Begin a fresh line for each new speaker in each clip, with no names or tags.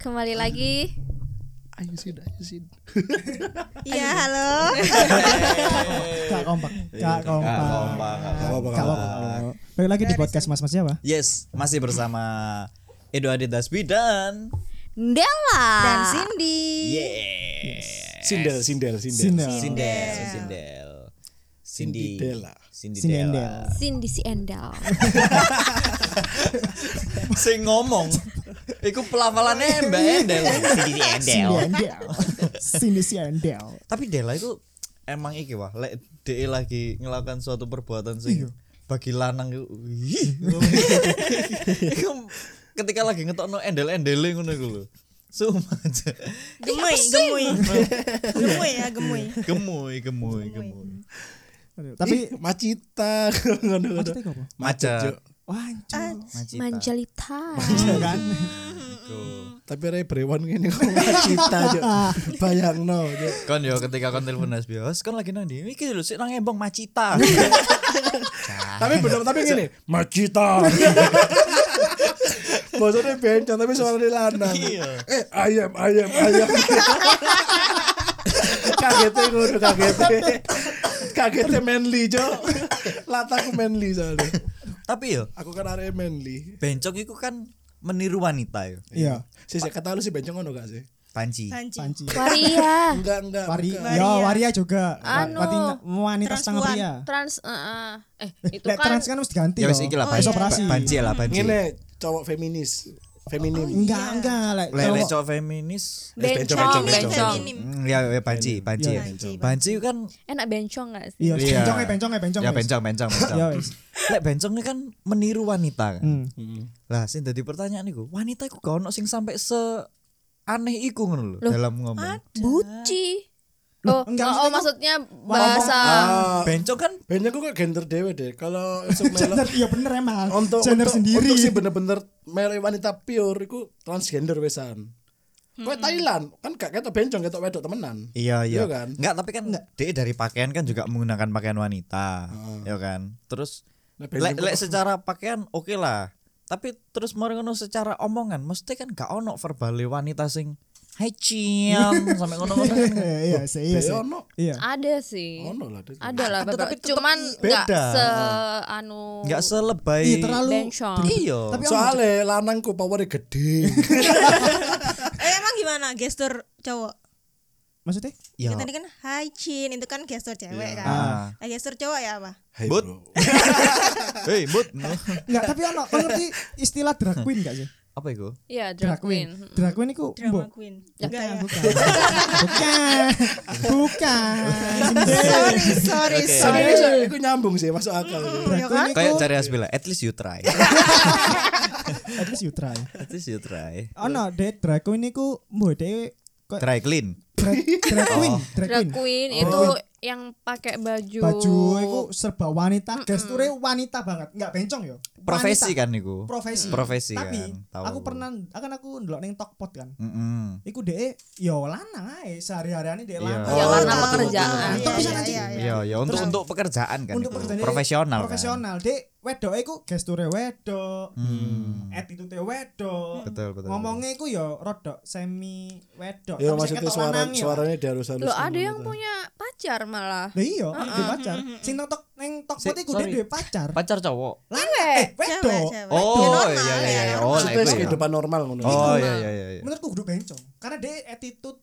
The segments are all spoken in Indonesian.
kembali lagi.
Ayo sid, ayo sid.
Iya, halo.
Kak kompak. Kak Iya. kompak.
Kak Kompak, Kak Kompak.
Kak kompak. Balik lagi di podcast Mas Mas siapa?
Yes, masih bersama Edo Adit Dasbi dan
Della.
Dan Cindy.
Yes.
Sindel, sindel,
Sindel.
sindel.
Sindel, Sindel. Cindy
Cindy Della.
Cindy
Sindel.
Della.
Cindy si Endel.
Sing ngomong. Iku pelafalannya Mbak Endel. Cindy Endel.
Sindel. Cindy Sindel.
Tapi Della itu emang iki wah, lek DE lagi ngelakukan suatu perbuatan
Iya.
sing bagi lanang iku. ih. Iku ketika lagi ngetokno endel-endele ngono iku lho. Sumpah aja.
Gemuy, gemuy. Gemuy ya, gemuy.
Gemuy, gemuy, gemuy.
Aduh, Tapi
Macita. Ngono-ngono.
maksudnya apa?
Macet, Cuk.
Maca.
Wah, anjir.
Macita.
Manjalita.
Iya kan?
Tapi re brewan ngene kok macita, Cuk. Bayangno, Cuk.
Kon yo ketika kon telepon Nas Bios, kon lagi nang ndi? Iki lho sik nang embong Macita.
Tapi bener tapi ngene, macita. Bosone bencong tapi suarane lanang.
Iya.
Eh, ayam, ayam, ayam. Kagete ngono, kagete. Kagete manly, Cuk. Lataku manly soalnya.
Tapi yo
Aku kan arek manly.
bencong iku kan meniru wanita yo.
Iya.
Sih, sih, kata lu sih bencong ngono gak sih?
Panci.
Panci.
Panci.
Waria.
Enggak, enggak.
Waria.
bukan.
Yo, waria juga. Wa-
Anu,
watina- Wanita setengah
transpuan.
pria.
Trans eh, eh. eh itu
Lek
kan
ya. trans kan harus diganti
Ya wis
loh.
iki lah
Wis
Panci.
operasi.
Panci lah Panci.
Ngene cowok feminis. Feminim.
Enggak, enggak. Lek
Lek lek
cowok-
cowok feminis.
bencong, bencong.
Feminim.
Hmm, ya ya, panci, panci.
Iya,
Panci.
Panci kan
Enak bencong gak sih?
Iya,
Iya.
bencong ya, bencong ya, bencong.
ya
wis.
bencong, bencong,
Ya
bencong.
wis.
Lek bencong ini kan meniru wanita kan.
Hmm.
Lah sing dadi pertanyaan iku, wanita iku gak ono sing sampai se aneh iku ngono lho dalam ngomong.
Buci. Oh,
enggak,
oh, oh,
maksudnya
maksudnya bahasa
Ah,
Bencong kan
Bencong gue kayak gender dewe deh. Kalau untuk
Gender, iya bener emang.
untuk
Gender
untuk,
sendiri.
untuk sih bener-bener mele wanita pure iku transgender wesan. Kowe Thailand kan gak ketok bencong ketok wedok temenan.
Iya iya.
kan?
Enggak, tapi kan dia dari pakaian kan juga menggunakan pakaian wanita, ya kan? Terus
Nah,
lek
bencong
lek
kok-
secara pakaian oke lah. Tapi terus mari ngono secara omongan mesti kan gak ono verbale wanita sing Hai ciam sampai ngono-ngono. kan.
Iya, iya, sih, iya,
Eh,
sih.
ono.
Iya.
ada sih.
Ono lah. Dek.
Ada lah,
Ada, tapi
Bapak.
tetep
Cuman enggak
beda.
se anu
Enggak selebay.
Iya, terlalu.
bencong.
Iya.
Tapi soal
Soale lanangku powernya gede.
Eh, emang gimana gestur cowok?
maksudnya?
Ya.
Kita tadi kan hai Chin, itu kan gestur cewek kan.
Ah.
Nah, gestur cowok ya apa?
Hai,
But.
bro.
Hei, but.
Enggak, tapi ono kau ngerti istilah drag queen gak sih?
Apa iku?
Iya, drag queen.
Drag queen iku
Drama
mbok.
queen. Enggak
Bukan,
ya.
bukan. Bukan. Bukan.
Sorry, sorry,
Oke.
Tapi
sorry.
iso iku nyambung sih masuk akal.
Drag queen iku
Kayak cari asbila, at least you try.
at least you try.
at least you try.
ya. Ono dek drag queen iku mbok dek kok
Try clean.
drag drag queen,
Oh.
drag
Drag
queen.
queen itu yang pakai baju.
Baju iku serba wanita, gesture wanita banget. Enggak bencong yo.
Profesi
Wanita.
kan iku.
Profesi.
Profesi
Tapi
kan. Tahu.
aku pernah akan aku ndelok ning Tokpot kan.
Mm-mm.
Iku dek yo lanang ae sehari-hariane dek
Iya.
lanang.
Ya,
Oh,
karena
tahu,
pekerjaan.
tahu.
Iya,
Tapi
iya,
jangan
iya.
Chin.
Iya, ya untuk
Terus-
untuk pekerjaan kan.
untuk
itu.
pekerjaan ini
profesional. kan.
profesional dek wedok iku gesture wedok
Hmm.
attitude wedok
Betul, betul,
ngomongnya iku ya rodok semi wedok Tapi
Ya
sing
maksudnya
ketok
suara
lanang ya.
suaranya diharus harus.
Loh, ada yang punya pacar malah.
Lah iya, uh, pacar. Sing nang tok neng tok
Si-
putih kudu
sorry.
duwe pacar.
Pacar cowok.
Lanang eh
Cewek,
wedok.
cewek. Ya,
Oh,
normal,
iya iya
ya,
iya. iya.
normal.
Oh, lah,
Terus
itu ya.
kehidupan normal ngono.
Oh, iya iya iya. iya.
Menurutku kudu bencong. Karena dia attitude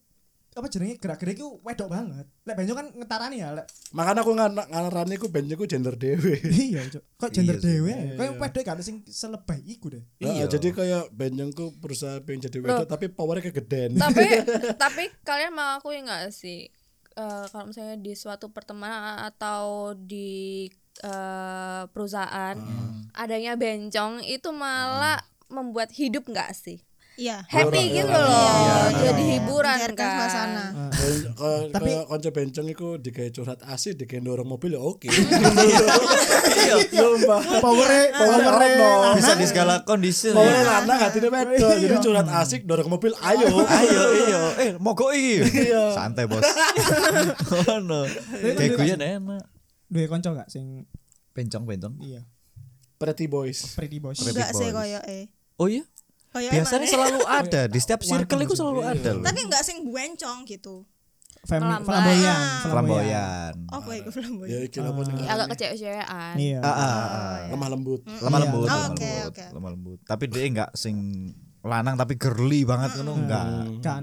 apa jenenge gerak-gerik iku wedok banget. Lek bencong kan ngetarani ya lek.
Makanya aku nganak ngarani ku bencong ku gender dewe.
Iya, Cuk. Kok gender
Iya sih.
dewe. ya. Kok yang wedok gak ada sing selebay iku deh.
Iya.
Iya. jadi kayak bencongku berusaha pengen jadi wedok tapi powernya kegedean.
tapi tapi kalian mau aku nggak sih eh, kalau misalnya di suatu pertemanan atau di eh, perusahaan adanya bencong itu malah membuat hidup nggak sih
Iya.
happy gitu loh jadi hiburan
Mencairkan
kan
suasana.
Ben- ko-
Tapi-
ko- konco bencong itu digawe curhat asih digawe dorong mobil ya oke. Iya,
Power
Iya.
Power no.
Bisa di segala kondisi.
Power
ya.
lanang hatine wedok. Jadi curhat asik dorong mobil ayo.
Ayo iya. Eh, mogok iya. Santai, Bos. Oh, no. Keguyan enak.
duwe kanca gak sing
Bencong, bencong.
iya,
Pretty boys.
pretty boys.
Enggak sih
boys.
koyo eh.
Oh iya.
Kayak
Biasanya
emang-
selalu ada di setiap circle itu selalu ada loh.
tapi enggak sing buencong gitu.
Flam-
Flamboyan.
flamboyan,
Ah.
Oh, iya.
Flamboyan.
Apa iku
ya
flamboyan?
iki apa sih?
Ya, agak kecewa-cewaan.
Iya.
Ah, ah, ah.
lemah lembut
Mm,
lemah
Iya.
lembut,
Oh,
lemah
oke,
lembut,
oke.
lemah lembut. Tapi dia enggak sing lanang tapi girly banget ngono enggak.
Kan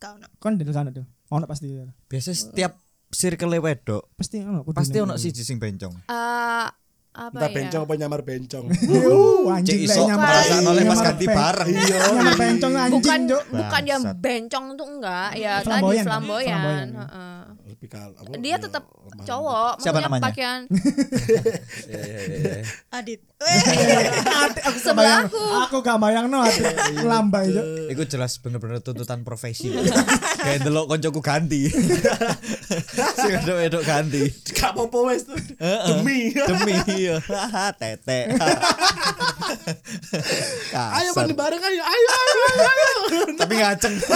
Gak ono.
kon dulu kan tuh. Ono pasti.
Biasanya setiap circle wedok
Pasti ono. kudu
pasti
nih.
Hmm.
ono siji sing bencong.
Eh, apa
entah
ya?
bencong apa nyamar bencong
Yuh,
Cek
anjing
iso
lek nyamar-
merasa oleh pas
nyamar
ganti
pen-
bareng.
Iya.
Nyamar pencong
bukan
anjing, Cuk.
bukan yang
Bangsat.
bencong tuh enggak ya
Flamboyan.
tadi flamboyan,
Flamboyan.
heeh.
lebih kal apa
dia tetap cowok
Siapa
maksudnya
namanya?
pakaian
Adit.
Adit, aku gak bayang.
sebelahku
Aku gak bayang no adit. Lambai, Cuk.
Iku jelas bener-bener tuntutan profesi. Kayak delok koncoku ganti. Sing wedok wedok ganti.
gak apa-apa wes tuh demi
Demi iya. Tete.
ayo
Kasar.
mandi bareng ayo ayo ayo ayo, ayo.
Tapi ngaceng.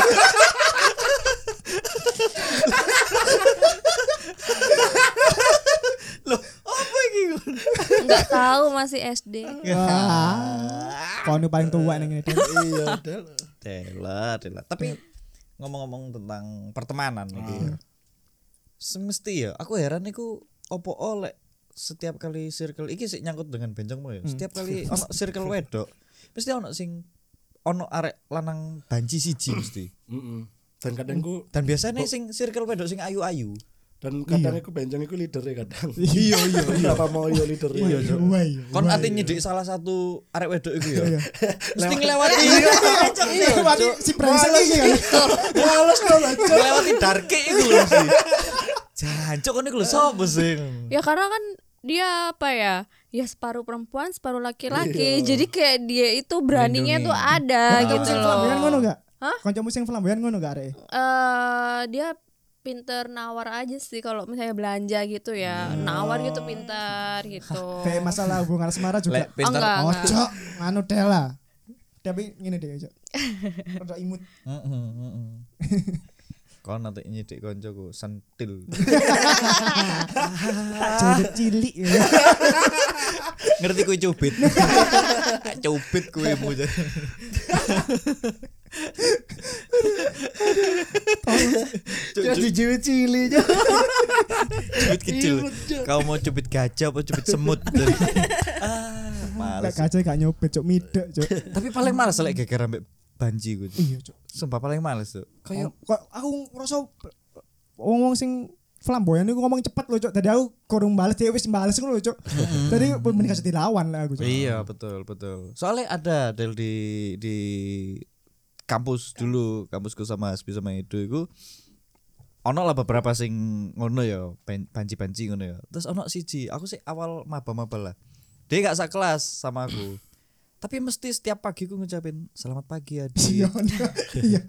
Loh, apa iki?
nggak tahu masih SD
Iya.
Kau ini paling tua nih ini.
iya Del.
Dela, dela. Tapi
Iya.
ngomong-ngomong tentang
Ah.
pertemanan iki ya. Semesti ya, aku heran iku opo oleh setiap kali circle iki sih nyangkut dengan bencongmu ya.
Hmm.
Setiap kali ono circle wedok, mesti ono sing ono arek lanang banci siji mesti.
Mm-mm. dan kadang ku
Dan biasanya sing circle wedok sing ayu-ayu.
dan kadang aku bencong aku leadernya kadang
Iya, iya,
kenapa mau Hmm, yo leadernya
Iya, Cuk. Wah, iya.
Kon ati nyedik salah satu arek wedok iku ya. Mesti ngelewati
Iya, waduh, si brengsek ini kan.
males banget
ngelewati darke iku lho mesti. Jancuk kon iku lho sapa sing?
ya karena kan dia apa ya ya separuh perempuan separuh laki-laki
Iya.
jadi kayak dia itu beraninya
Melindungi.
tuh ada
Ah,
Nah,
gitu
Sing
loh
flamboyan ngono gak?
Hah?
Kancamu sing flamboyan ngono gak arek?
Eh, dia pinter nawar aja sih kalau misalnya belanja gitu ya nawar gitu pinter gitu
Kayak masalah hubungan asmara juga.
Lek pinter
enggak.
Ojo, anu Dela. Tapi ngene deh, Cuk. Rada imut.
Heeh, heeh. Kon nanti nyidik koncoku sentil.
Jodet cilik ya.
Ngerti kuwi cubit. cubit kuwi mu.
jadi jiwit cili
Cubit kecil.
Imut, Cuk.
Kau mau cubit gajah apa cubit semut? ah,
Lek
males.
gajah gak nyopet, Cuk, midek, Cuk.
Tapi paling males lek geger ambek banji ku.
Iya, Cuk.
Sumpah paling males tuh.
Kayak kok aku ngerasa wong-wong sing flamboyan itu ngomong cepet loh, Cuk. Tadi aku kurung bales, dia wis bales ngono loh, Cuk. Tadi mending kasih dilawan lah aku, Cuk.
Iya betul betul. Soalnya ada Del di di kampus dulu kampusku sama Hasbi sama Edo itu ono lah beberapa sing ngono ya pen- panci-panci ngono ya. Terus ono siji aku sih awal maba-maba lah. Dia gak sekelas sama aku. Tapi mesti setiap pagi ku ngucapin selamat pagi Adi.
Iya. Iya.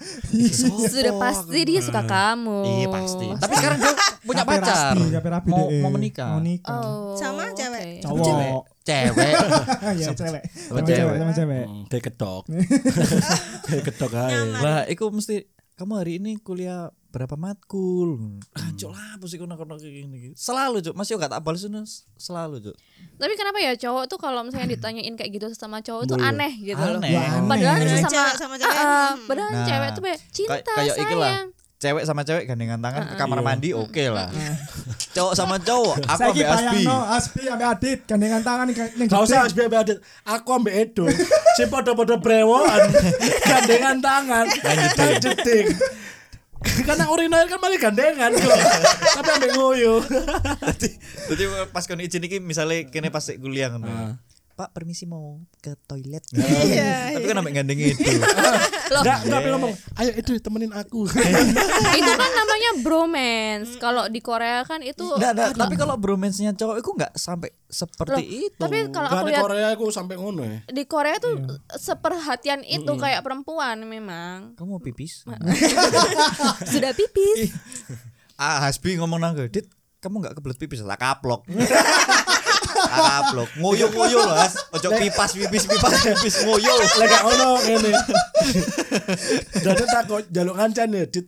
sudah pasti dia suka kamu
Iya pasti. Tapi sekarang dia punya
Rapi,
pacar.
rapi, rapi, rapi,
mau,
deh.
mau menikah.
Mau nikah.
oh,
Sama cewek.
oke.
Cowok.
Cewek.
Iya, cewek.
Sama
Sama
cewek.
cewek, sama cewek.
kayak ketok kayak ketok aja
Lah, iku mesti kamu hari ini kuliah berapa matkul? Ah, cuk lah, mesti kono kono kayak gini. gini. Selalu, cuk. Masih gak tak bales ngono, selalu, cuk.
Tapi kenapa ya cowok tuh kalau misalnya ditanyain kayak gitu sama cowok tuh aneh gitu loh.
Aneh.
Padahal
Padahal
sama
cewek sama cewek,
Ah, ah,
hmm.
padahal
Nah,
cewek tuh kayak cinta
Kay- kayak iki lah.
sayang.
Cewek sama cewek gandengan tangan ke kamar mandi oke lah. cowok sama cowok, aku
Saya
ambil Asbi.
bayangno Asbi ambek Adit gandengan tangan yang yang
Gak
gede.
usah harus biar Aku ambek Edo Si podo-podo brewoan Gandengan tangan Lanjutin Karena urinair kan paling gandengan kok. Tapi ambek ngoyo
Jadi, jadi pas kon izin iki misalnya kene pas sik kuliah ngono. Pak permisi mau ke toilet. Tapi kan ambek gandeng itu.
Loh,
Gak, gak pengen ngomong Ayo Edo temenin aku
itu kan namanya bromance. Kalau di Korea kan itu
Nggak, nggak. Nah, tapi kalau bromance-nya cowok itu nggak sampai
Loh,
seperti itu.
Tapi kalau
Gak
aku
di
lihat
Korea aku sampai ngono ya
di Korea tuh
Iya.
seperhatian itu kayak perempuan memang.
Kamu mau pipis?
Sudah pipis.
Ah, Hasbi ngomong nang gue, Dit, kamu gak kebelet pipis, tak kaplok. tak kaplok. Ngoyo-ngoyo loh, Has. Ojo pipas pipis pipas pipis ngoyo.
Lega ngono ngene. Jadi tak kok jaluk ngancan ya Dit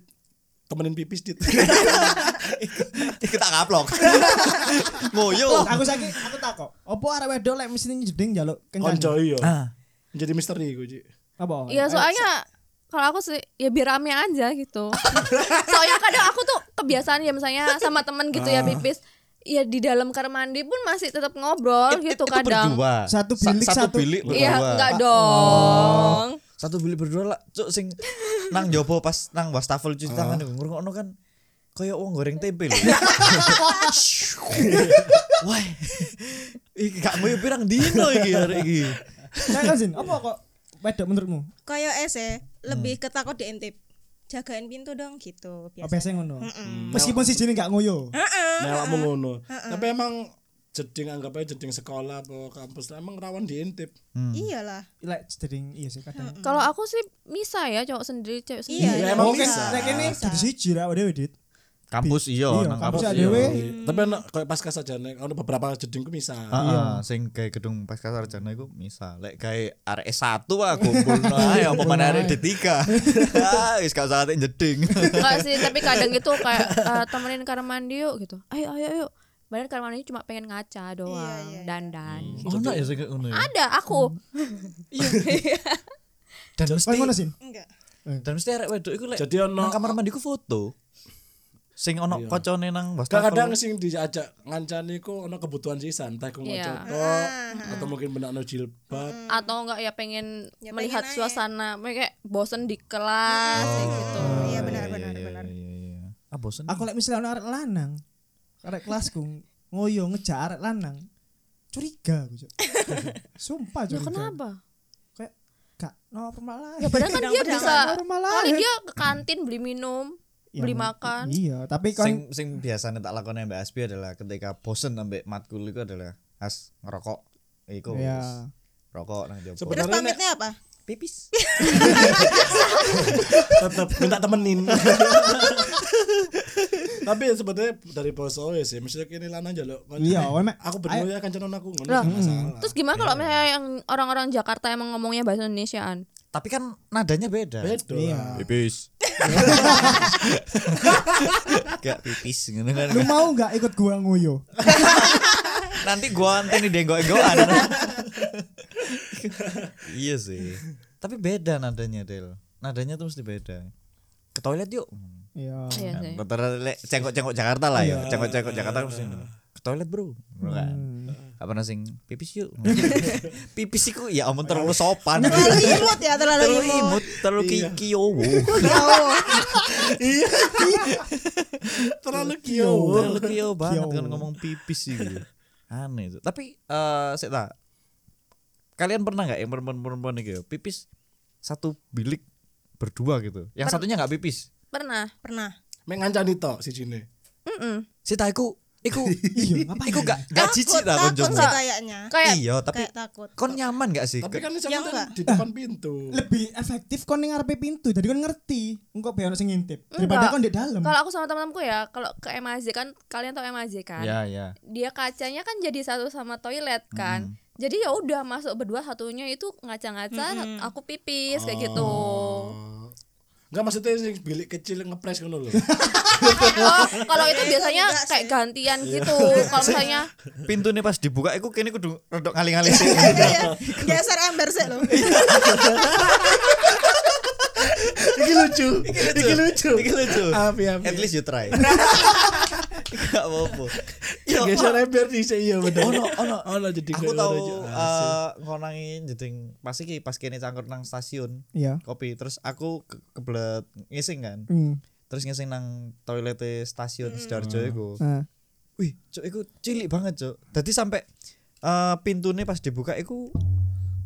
Temenin pipis Dit
Iki tak kaplok.
Loh,
ngoyo.
Aku saiki aku takok. Opo arek wedok lek mesti jeding njaluk kencan?
Konco iya
Ah,
Jadi misteri gue Cik
Apa?
Oh,
Iya
eh,
soalnya kalau aku sih ya biar rame aja gitu. soalnya kadang aku tuh kebiasaan ya misalnya sama temen gitu ya
Ah.
pipis. Ya di dalam kamar mandi pun masih tetap ngobrol
It-
gitu
itu
kadang.
Eh, berdua.
Satu
Sa-
bilik,
satu
satu-
bilik berdua. Oh.
Iya enggak dong.
Satu bilik berdua lah. Cuk sing nang jopo pas nang wastafel cuci tangan iku ngrungokno kan kaya wong goreng tempe lho. Wah. Iki gak mau pirang dino iki hari iki.
Saya kan Zin, apa kok wedok menurutmu?
Kayak es ya, lebih ketakut di intip. Jagain pintu dong gitu
Apa
biasa.
biasanya ngono? Meskipun si Jin gak ngoyo.
melakmu ngono. Tapi emang jeding anggap aja jeding sekolah apa kampus emang rawan diintip.
Iyalah.
Lek jadi iya sih kadang.
Kalau aku sih bisa ya cowok sendiri, cewek
Iya,
sendiri.
Ya, emang
Oke,
bisa.
lek ini jadi siji ra dhewe, Dit.
Kampus iya,
Iya,
nang
kampus
kampus
ya dhewe.
iya.
Tapi enak kayak pasca saja nek ono beberapa jeding ku misal.
Heeh, Nah, iya, sing kayak gedung Pasca Sarjana iku misal lek kayak RS 1 ah kumpul ae apa mana RS 3. Ah wis gak usah ati jeding.
Enggak sih, tapi kadang gitu kayak eh, temenin kamar mandi yuk gitu. Ayo ayo ayo. Padahal kamar mandi cuma pengen ngaca doang, dandan.
Ono ya sing kayak ngono ya.
Ada aku.
Dan
Kok
mesti
ngono Zin?
Enggak.
dan mesti arek wedok iku lek
Jadi ono
nang kamar mandiku foto sing ono kocone nang Iya, wastafel
kadang-kadang sing diajak ngancani ku ono kebutuhan sisan, entah ku
Iya.
ngoco atau mungkin benakno jilbab.
atau enggak ya pengen
Ya, pengen
melihat
aja.
suasana kayak bosen di kelas kayak gitu.
Ah.
Iya benar-benar
Iya,
benar.
iya, iya. ah bosen
Aku lek misalnya ono arek lanang, arek kelasku ngoyo ngejar arek lanang. Curiga aku, Cuk. Sumpah
Ya
curiga.
kenapa?
Kayak gak normal lah.
Ya padahal kan dia
Kadang-kadang
bisa
normal lah.
kali dia ke kantin beli minum,
Ya,
beli
mungkin-
makan.
Iya, tapi
sing
kan
sing biasanya tak lakukan Mbak Asbi adalah ketika bosen ambek matkul itu adalah as ngerokok iku
ya.
wis. rokok nang jopo
Sebenarnya-
Terus
Benar,
pamitnya apa?
pipis
tetap minta temenin tapi sebetulnya dari boso ya sih maksudnya kini lana aja loh
Iya, emang-
aku berdua ya kancanan aku ngono
Lah.
gak masalah
Terus gimana kalau
iya.
misalnya yang orang-orang Jakarta emang ngomongnya bahasa Indonesiaan?
tapi kan nadanya beda
bedo
Iya.
lah.
pipis gak pipis gitu kan
Lu mau gak ikut gua ngoyo?
nanti gua anteni denggok-enggokan iya sih tapi beda nadanya Del nadanya tuh mesti beda ke toilet yuk
Iya.
Iya
Nah,
sih.
rata cengkok-cengkok Jakarta lah ya cengkok-cengkok Jakarta mesti ke toilet bro Ngono kan
Hmm.
apa nasing pipis yuk pipis iku ya ampun terlalu sopan
Nah, iya.
Terlalu imut ya, terlalu
terlalu
imut.
imut terlalu
Iya.
kiyowo
terlalu kio
terlalu kiyowo banget
Kiyowo.
kan ngomong pipis gitu aneh itu tapi eh sik tak kalian pernah nggak yang perempuan-perempuan gitu pipis satu bilik berdua gitu yang satunya nggak pipis
Pernah.
Pernah.
main ngancani tok si cine
Mm-mm.
si tak iku iku
Iya, ngapain?
iku gak gak
Takut,
cici tak
takut
konjong.
sih kayaknya.
Kayak
iya tapi
Kayak takut.
kon nyaman gak sih
tapi
Ke-
kan ini
Ya, enggak.
kan di depan pintu
lebih efektif kon ning ngarepe pintu jadi kon ngerti engko be ono sing ngintip daripada
Enggak.
kon di dalam
kalau aku sama teman-temanku ya, kalau ke MAJ kan kalian tau MAJ kan?
Iya.
ya ya
Dia kacanya kan jadi satu sama toilet kan. Jadi ya udah masuk berdua satunya itu ngaca-ngaca, aku pipis kayak gitu.
Oh.
Enggak maksudnya sing bilik kecil ngepres ngono lho.
Oh, kalau itu biasanya
enggak
kayak gantian
Iya.
gitu. Kalau misalnya
pintu nih pas dibuka iku kini kudu rodok ngalih-ngalih sih
Iya, Geser ember sih lo.
Iki lucu. Iki lucu.
Iki lucu.
Api
at
api.
least you try gak apa-apa Ya,
Geser ember di iya bener.
ono ono
Ono jadi
aku
kayak
tahu
lucu. Asik.
eh, ngonangi jeding pas iki pas kene cangkur nang stasiun
Iya.
kopi terus aku ke kebelet ngising kan
Hmm.
terus ngising nang toilet stasiun Sidoarjo iku
Nah.
wih cuk iku cilik banget cuk dadi sampai eh pintunya pas dibuka iku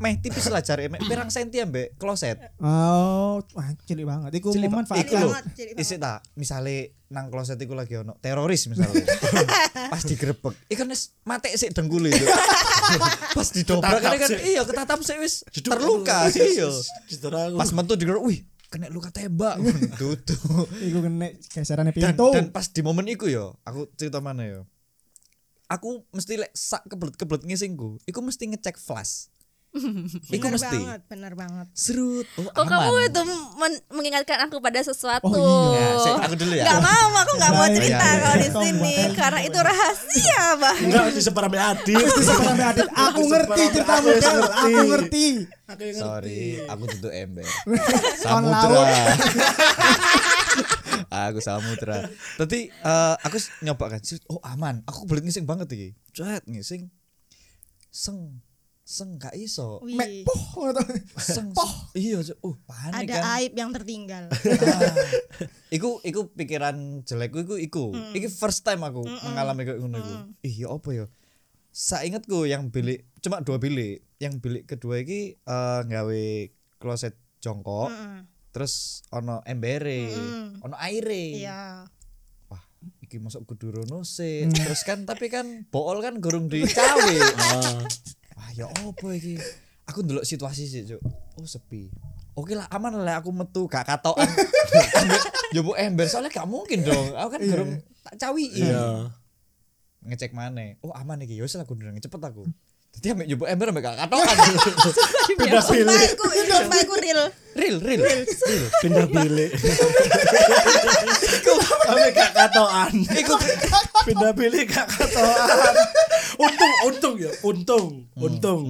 meh tipis lah jari meh pirang senti ambek kloset
Oh, wah, cilik banget. Iku
Cilik ba- iku lho.
memanfaatkan.
banget, cilik
Isik tak misale nang kloset iku lagi ono teroris misalnya. pas digrebek. Iku wis mate sik dengkule itu. pas didobrak
Ketatap
kan kan
sik.
iya ketatap sik wis
Jeduk
terluka
aku.
iya.
Jeduk aku.
Pas metu digeruk, wih kena luka tembak. Dudu.
Iku kena geserannya
Dan,
pintu.
dan pas di momen iku yo, aku cerita mana yo. Aku mesti lek sak kebelet-kebelet ngisingku, iku mesti ngecek flash. Iku
Bener
mesti.
banget, bener banget.
Serut. Oh,
Kok kamu
aman.
itu men- mengingatkan aku pada sesuatu?
Oh,
Nah, sik, aku dulu ya.
Gak mau, aku gak mau
Iya, iya,
cerita
iya.
kalau di
Tolong
sini
buatkan.
karena itu rahasia, Bang.
Enggak disebar sampai Adit.
Terus sampai Adit, aku ngerti
Aku
ceritamu
ngerti.
Del, aku ngerti.
Aku yang ngerti.
Sorry, aku tutup ember.
Kon
Samudra. aku samudra. Tadi eh, aku s- nyoba kan, Set, oh aman. Aku belit ngising banget iki. Cuet ngising. Seng. Seng gak iso.
Wih,
Mek, poh, ngono to.
Seng. Iya, Cuk. oh panik
ada
kan.
aib yang tertinggal.
Ah. iku iku pikiran jelekku iku iku. Iki first time aku mengalami kayak ngono iku. Ih, ya apa ya? Saingetku yang bilik cuma dua bilik. Yang bilik kedua iki eh, nggawe kloset jongkok. Terus ono embere, ono aire.
Iya.
Wah, iki masuk kudu rono sih. Terus kan tapi kan bool kan gorong dicawe. Wah, ya apa iki? Aku ndelok situasi sih, Cuk. Oh, sepi. Oke lah, aman lah aku metu gak katokan. Jobo ember soalnya gak mungkin dong. Aku kan gorong tak cawi.
Iya.
Ngecek mana? Oh, aman iki. Yo wis lah aku ndurung cepet aku. Jadi ambek jobo ember ambek gak katokan.
Pindah
Sumpah
bilik,
aku, ini sumpah aku real.
real, real. real.
pindah bilik. Sampai gak katoan. Pindah bilik gak katoan. Untung, untung ya, untung, untung.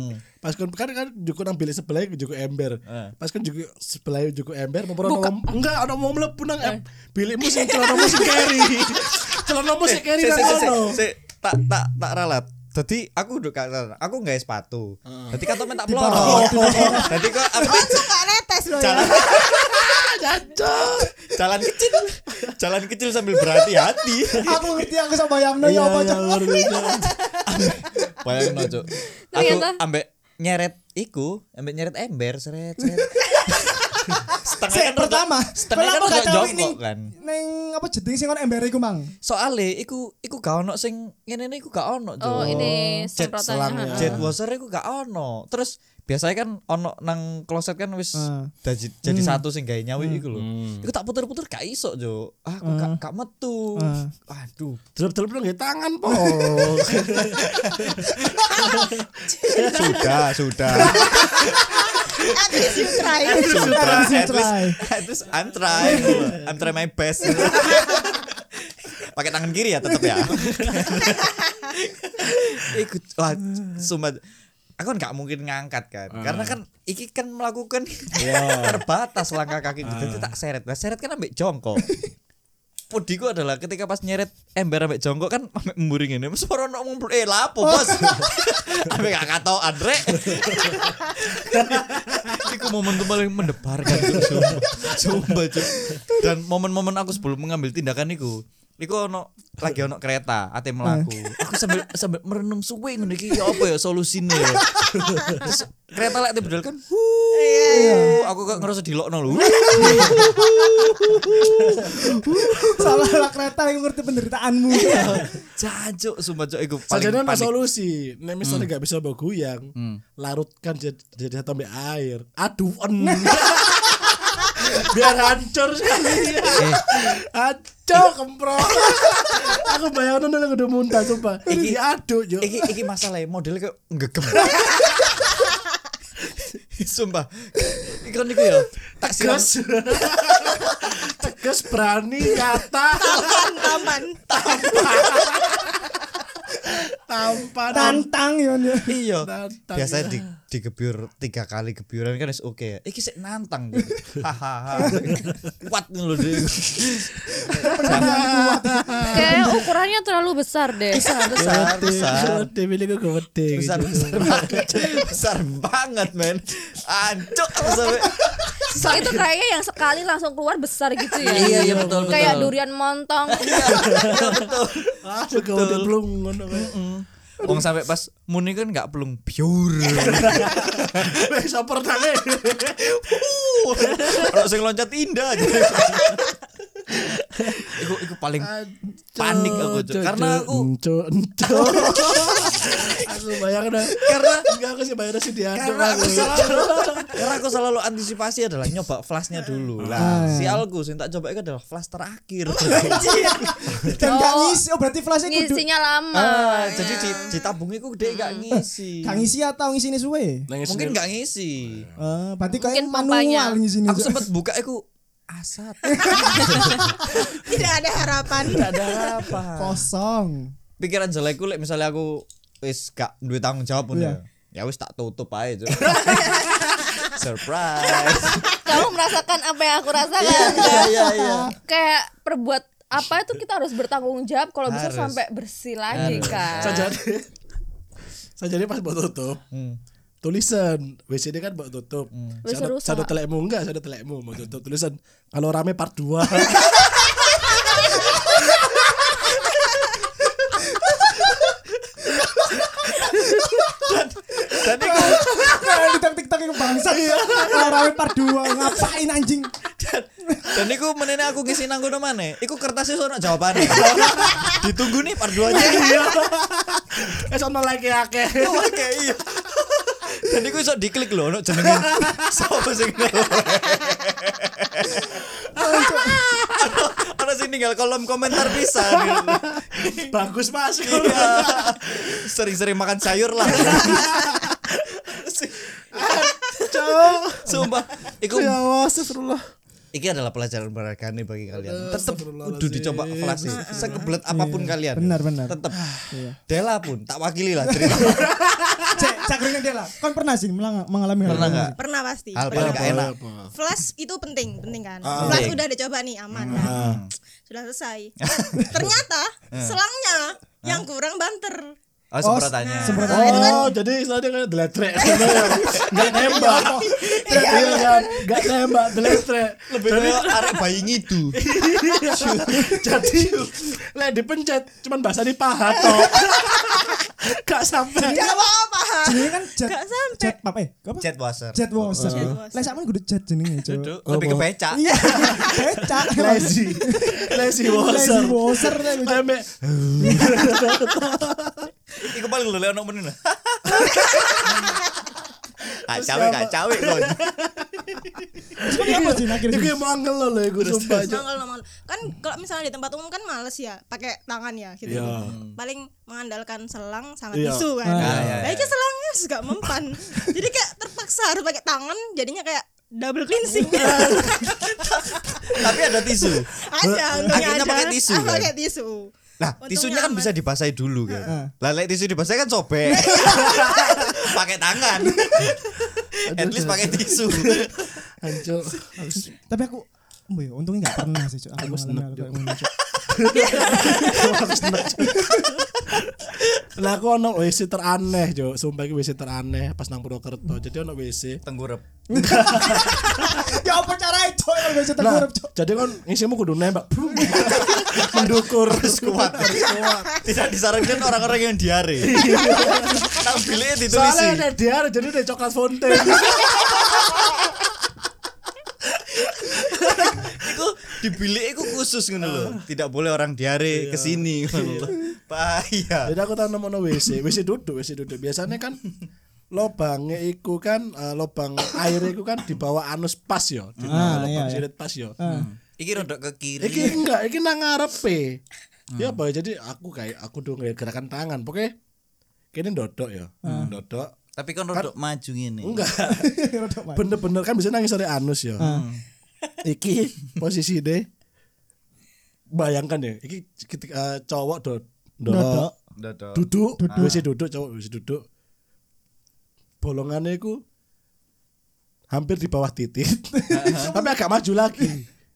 Pas kan kan kan juku nang bilik sebelah juku ember.
Eh.
Pas kan juku sebelah juku ember mau ono enggak ono mau mlebu nang em- bilikmu sing celanamu sing keri. Celanamu sing keri
Se-
nang
se- se-
ono.
se- se- tak tak tak ralat. Jadi aku udah kata, aku nggak sepatu. Jadi kata tak pelorot. Jadi kok aku
Langsung gak netes loh ya.
jalan jalan kecil, jalan kecil sambil berhati-hati.
Aku ngerti, aku sama bayangno ya
Iya,
apa Cok.
Bayangin aja. Aku
Ternyata.
ambek nyeret iku, ambek nyeret ember, seret seret. setengah
Sik,
kan
pertama,
rodok- setengah kan
pertama
rodok
gak tahu ini.
jongkok kan.
Neng apa jeding sing kon ember iku, Mang?
Soale iku iku gak ono sing ngene iku gak ono, Jo.
Oh, ini
jet selang
semprotannya.
jet washer iku gak ono terus biasanya kan ono nang kloset kan wis
Ah.
jadi, jadi satu sing gawe nyawi iku lho iku tak puter-puter gak iso jo Ah, aku gak, gak metu
Ah.
aduh
Drop-drop nang nggih tangan po.
sudah sudah
At least you try.
sudah
least you
at least
try.
at least I'm trying I'm trying my best pakai tangan kiri ya tetap ya ikut wah sumpah aku kan gak mungkin ngangkat kan karena kan iki kan melakukan terbatas langkah kaki jadi tak seret nah seret kan ambek jongkok Pudiku adalah ketika pas nyeret ember ambek jongkok kan ambek mburing ini Mas ora ono ngomong eh lapo bos. ambek gak katokan rek. Iku momen tuh paling mendebarkan Cuk, sumpah. Sumpah, Cuk. Dan momen-momen aku sebelum mengambil tindakan iku, iku ono lagi ono kereta ate melaku. Aku sambil sambil merenung suwe ngono iki ya apa ya solusine ya. Terus kereta lek ate bedal kan. wuh,
Eh.
Iya.
Aku kok ngerasa dilokno lho.
Salah lah kereta yang ngerti penderitaanmu.
Jancuk sumpah cuk iku paling Hmm.
Sajane ana
panik.
solusi. Nek misalnya nggak bisa mbok goyang, larutkan jadi jadi satu ambek air. Aduan. Biar hancur sekali.
Eh.
Hancur kemprok. Aku bayangin dulu aku udah muntah coba. Ini aduk yo.
Iki iki masalahnya model kayak ngegem. Sumpah. Iki kan iku ya. Tak siram
Tegas. Tegas berani nyata
Taman.
tampan.
Tantang ya. Nia.
iya.
Nantang,
Biasanya di digebyur tiga kali gebyuran kan is oke ya. Iki sik nantang. Dik. Hahaha. Kuat ngono deh.
Kayak ukurannya terlalu besar deh.
Besar besar.
Gede milikku gede.
besar besar banget besar banget men ancuk aku sampai
itu kayaknya yang sekali langsung keluar besar gitu ya.
Iya, iya, betul,
Kayak
betul.
durian montong.
Aduh kau udah belum ngono.
Wong sampai pas muni kan nggak pelung biur
Wes saper tangi.
kalau sing loncat indah aja. iku iku paling panik aku Cuk. karena aku
Enco, enco. Aku bayangin karena enggak aku sih bayangin sih dia.
karena aku selalu karena aku selalu antisipasi adalah nyoba flashnya dulu
Ah.
lah sialku sing tak coba itu adalah flash terakhir iya.
Dan gak
Oh.
ngisi, oh berarti flashnya kudu
ngisinya lama
ah, jadi di, ditabung iku gede gak ngisi
gak ngisi atau ngisi ini suwe.
mungkin gak ngisi
Eh, berarti kayak
Mungkin pompanya.
manual ngisi ini.
aku sempet buka iku asat
tidak ada harapan
tidak ada apa
kosong.
pikiran jelekku lek misalnya aku wis gak duwe tanggung jawab ngono
Iya.
ya. ya wis tak tutup aja Cuk. surprise
kamu merasakan apa yang aku rasakan
iya iya iya
kayak perbuat apa itu kita harus bertanggung jawab kalau bisa
Harus.
sampai bersih lagi
Harus.
kan
Saya jadi saya jadi pas mau tutup
Hmm.
tulisan WC ini kan mau tutup.
Wis
Saya
rusak.
saya telekmu enggak, saya telekmu mau tutup tulisan kalau rame part 2.
dan iku
Kayak di tiktok yang bangsat. Kalau rame part 2 ngapain anjing?
dan iku menene aku ngisi nang kono maneh iku kertasnya sono jawabane ditunggu nih part 2 nya
Iya. Eh sono lagi akeh.
oke iya dan iku iso diklik lho ono jenenge sapa sing ono sing tinggal kolom komentar pisan
Bagus Mas.
Iya. Sering-sering makan sayur lah.
Ciao.
Sumpah, iku
Ya
Iya.
Allah, astagfirullah.
iki adalah pelajaran berharga nih bagi
Eh,
kalian. Tetep
astagfirullahaladzim.
kudu dicoba kelas sih. Sekebelet apapun kalian.
Nah, Iya. benar, benar.
Tetep.
Iya.
Dela pun tak wakili lah cerita.
Cek, cakringnya dia lah. Kan pernah sih melang- mengalami hal gitu?
Pernah
ini?
enggak?
pernah pasti
Hal
pernah.
Iya,
paling gak enak.
flash itu penting penting kan
Ah, penting. Hmm.
flash
Ah.
udah ada coba nih aman kan sudah selesai ternyata selangnya
Ah.
yang kurang banter
Oh, semprotannya.
Oh,
Iya.
jadi istilahnya kayak deletrek sebenarnya. Enggak nembak. Iya kan, enggak nembak deletrek.
Lebih kayak arek bayi ngidu.
Jadi lek dipencet cuman bahasa di paha toh. Gak sampai.
Ya,
tidak apa apa
Jenenge kan jet
Gak sampai.
jet apa eh? Apa?
Jet washer.
Jet washer.
Jet washer.
Lah sakmen kudu jet jenenge, Cuk.
Duduk, Lebih ke becak.
Iya. Becak.
Lazy.
Lazy
Lazy washer.
washer lah, Cuk.
Ame
Iku paling lho lek ono meneh. lah. Kacawe kacawe kon.
Cuman apa sih akhir
Iku yang mau angel lho iku sumpah. Cuk.
nongol nongol kan kalau misalnya di tempat umum kan males ya pakai tangan ya gitu
Iya.
paling mengandalkan selang sama
Iya.
tisu kan
Ah, iya,
nah itu selangnya juga mempan jadi kayak terpaksa harus pakai tangan jadinya kayak double cleansing
Ah. Tapi ada tisu.
ada untungnya
Ah. Akhirnya
ada
pakai tisu,
Ah,
kan?
pakai tisu
Nah,
Untungnya
tisunya kan
aman.
bisa dibasahi dulu
Heeh.
kan. Lah lek tisu dibasahi kan sobek. pakai tangan. At least pakai tisu.
Hancur.
Tapi aku Mbe, untungnya gak pernah sih, Cuk. Aku
seneng,
mengalami hal kayak gini, Cuk.
Lah aku ono WC teraneh, Cuk. Sumpah iki WC teraneh pas nang Purwokerto. Jadi ono WC
Tenggurep.
Ya apa cara itu? Ya bisa
Nah,
terkurap, Cuk.
jadi kan ngisimu kudu nembak. Brum. Mendukur
Terus kuat. Tidak disarankan orang-orang yang diare. Nang biliknya ditulisi.
Soalnya ada diare jadi ada coklat fountain.
Iku di bilik iku khusus ngono lho. Tidak boleh orang diare ke sini ngono lho. Bahaya.
jadi aku tahu nomor WC, WC duduk, WC duduk. Biasanya kan lobangnya iku kan eh, lobang air iku kan di bawah anus pas yo, di bawah
Ah,
lubang
iya, Ah. iya.
sirit pas yo. Hmm.
Iki rodok ke kiri.
Iki enggak, iki nang ngarepe.
Ah.
Ya apa ya, jadi aku kayak aku dong kayak gerakan tangan, pokoknya kini dodok ya, dodok.
Tapi kan rodok maju ngene.
Enggak,
Rodok, Pak.
bener-bener kan bisa nangis dari anus ya.
Ah.
Iki posisi deh, bayangkan ya, iki ketika eh, cowok do-
Dodok.
Rodok.
dodok, duduk, WC duduk, cowok WC duduk. Bolongannya iku hampir di bawah titik. Tapi agak maju lagi.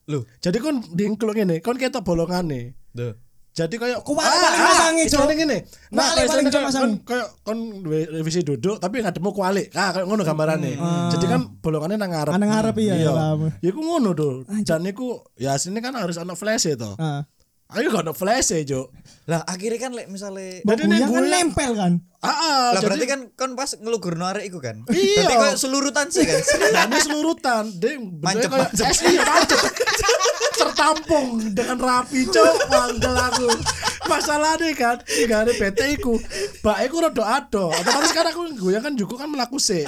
Loh.
Jadi kon dingklung ngene, kon ketok bolongane.
Duh.
Jadi kayak
Kuwale paling
ah,
masangi, Cok.
istilahnya ngene. Nah,
Kuwale paling
kayak
masangi.
kon kayak kon duwe revisi duduk tapi ngadepmu kualik. Ah, kayak ngono gambarane. Jadi kan bolongannya nang ngarep.
Hmm. Ah. Nang ngarep, iya,
Iya.
paham.
Ya iku ngono do. Jan iku ya asline kan harus ana flash to.
Ah.
Ayo gak ana flash e, Cok.
Lah akhirnya kan lek misalnya
Jadi
Goyang
nek
kan
goyang-
nempel kan.
Ah, ah,
Lah
jadi-
berarti kan kan pas ngelugurno arek iku kan.
Iya.
Berarti kayak selurutan sih kan.
Dani selurutan, dia bentuknya
Mancep,
kayak
mancep.
es iya mancep. tertampung dengan rapi cok manggel aku masalahnya kan tiga hari PT ku baik aku rodo ado otomatis kan aku gue kan juga kan melaku se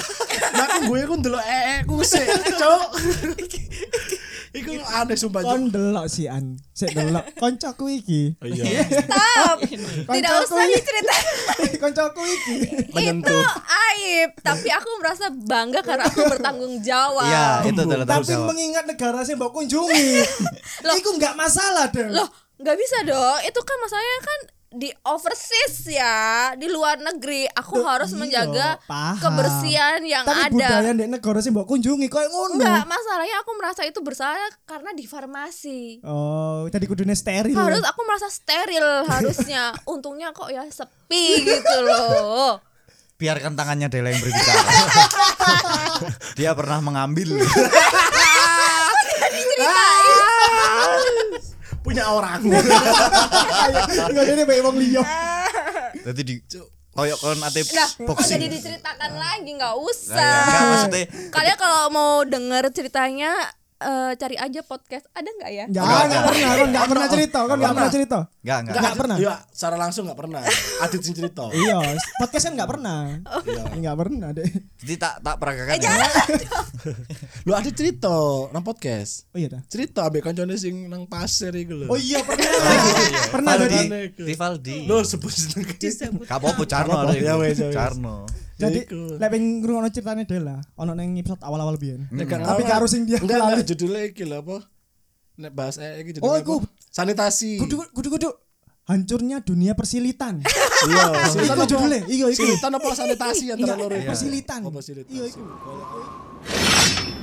melaku gue aku dulu ee ku se cok Iku aneh sumpah cok
kon delok sih an sik delok koncoku iki
iya
Stop. Tidak
Koncoku
usah
iki.
dicerita.
koncoku iki
itu aib, tapi aku merasa bangga karena aku bertanggung jawab.
Iya, itu adalah tanggung
tapi
jawab.
mengingat negara sing mbok kunjungi iku nggak masalah deh
Loh, nggak bisa dong. Itu kan masalahnya kan di overseas ya, di luar negeri. Aku
Duh,
harus
iya,
menjaga
paham.
kebersihan yang
tapi
ada.
budaya di negara sing mbok kunjungi koyo ngono
Enggak, masalahnya aku merasa itu bersalah karena di farmasi.
oh tadi kudune steril
Harus aku merasa steril harusnya. Untungnya kok ya sepi gitu loh.
biarkan tangannya Dela yang berbicara. Dia pernah mengambil.
punya orang
enggak dene bae wong liya
Jadi di koyok kon atep
Nah, kok
boxing.
jadi Ah. diceritakan lagi nggak usah.
Nah, ya, enggak, maksudnya
Kalian kalau mau denger ceritanya eh, cari aja podcast ada nggak ya?
enggak enggak pernah kon enggak pernah cerita kon enggak pernah cerita
enggak enggak.
enggak pernah
iya secara langsung nggak pernah adit sing cerita
iya podcast kan enggak pernah
Iya.
enggak pernah deh
Jadi tak tak peragakan. ya. Oh,
lu adit cerita nang podcast
oh iya dah
cerita ambek kancane sing nang pasir iku lho
oh iya pernah pernah
Valdi,
jadi
jadi-
Rivaldi.
Lo sebut jeneng
Gak apa-apa Carno ada
Gak apa-apa, ya
itu.
wes, ya wes.
Carno.
jadi
Iku.
lek pengen ngrungokno ceritane Dela ono nang episode awal-awal biyen
Tapi
Tapi karo sing dia
Hmm. enggak
lali.
enggak judulnya iki lho apa? Nek bahas eh iki
Oh,
judulnya
iku.
apa? Sanitasi.
kudu kudu kudu hancurnya dunia persilitan
Iya,
Iku
apa?
judulnya, iya, iku.
Silitan apa sanitasi antara loro?
Iya, persilitan.
Oh, persilitan.
Iya, iku.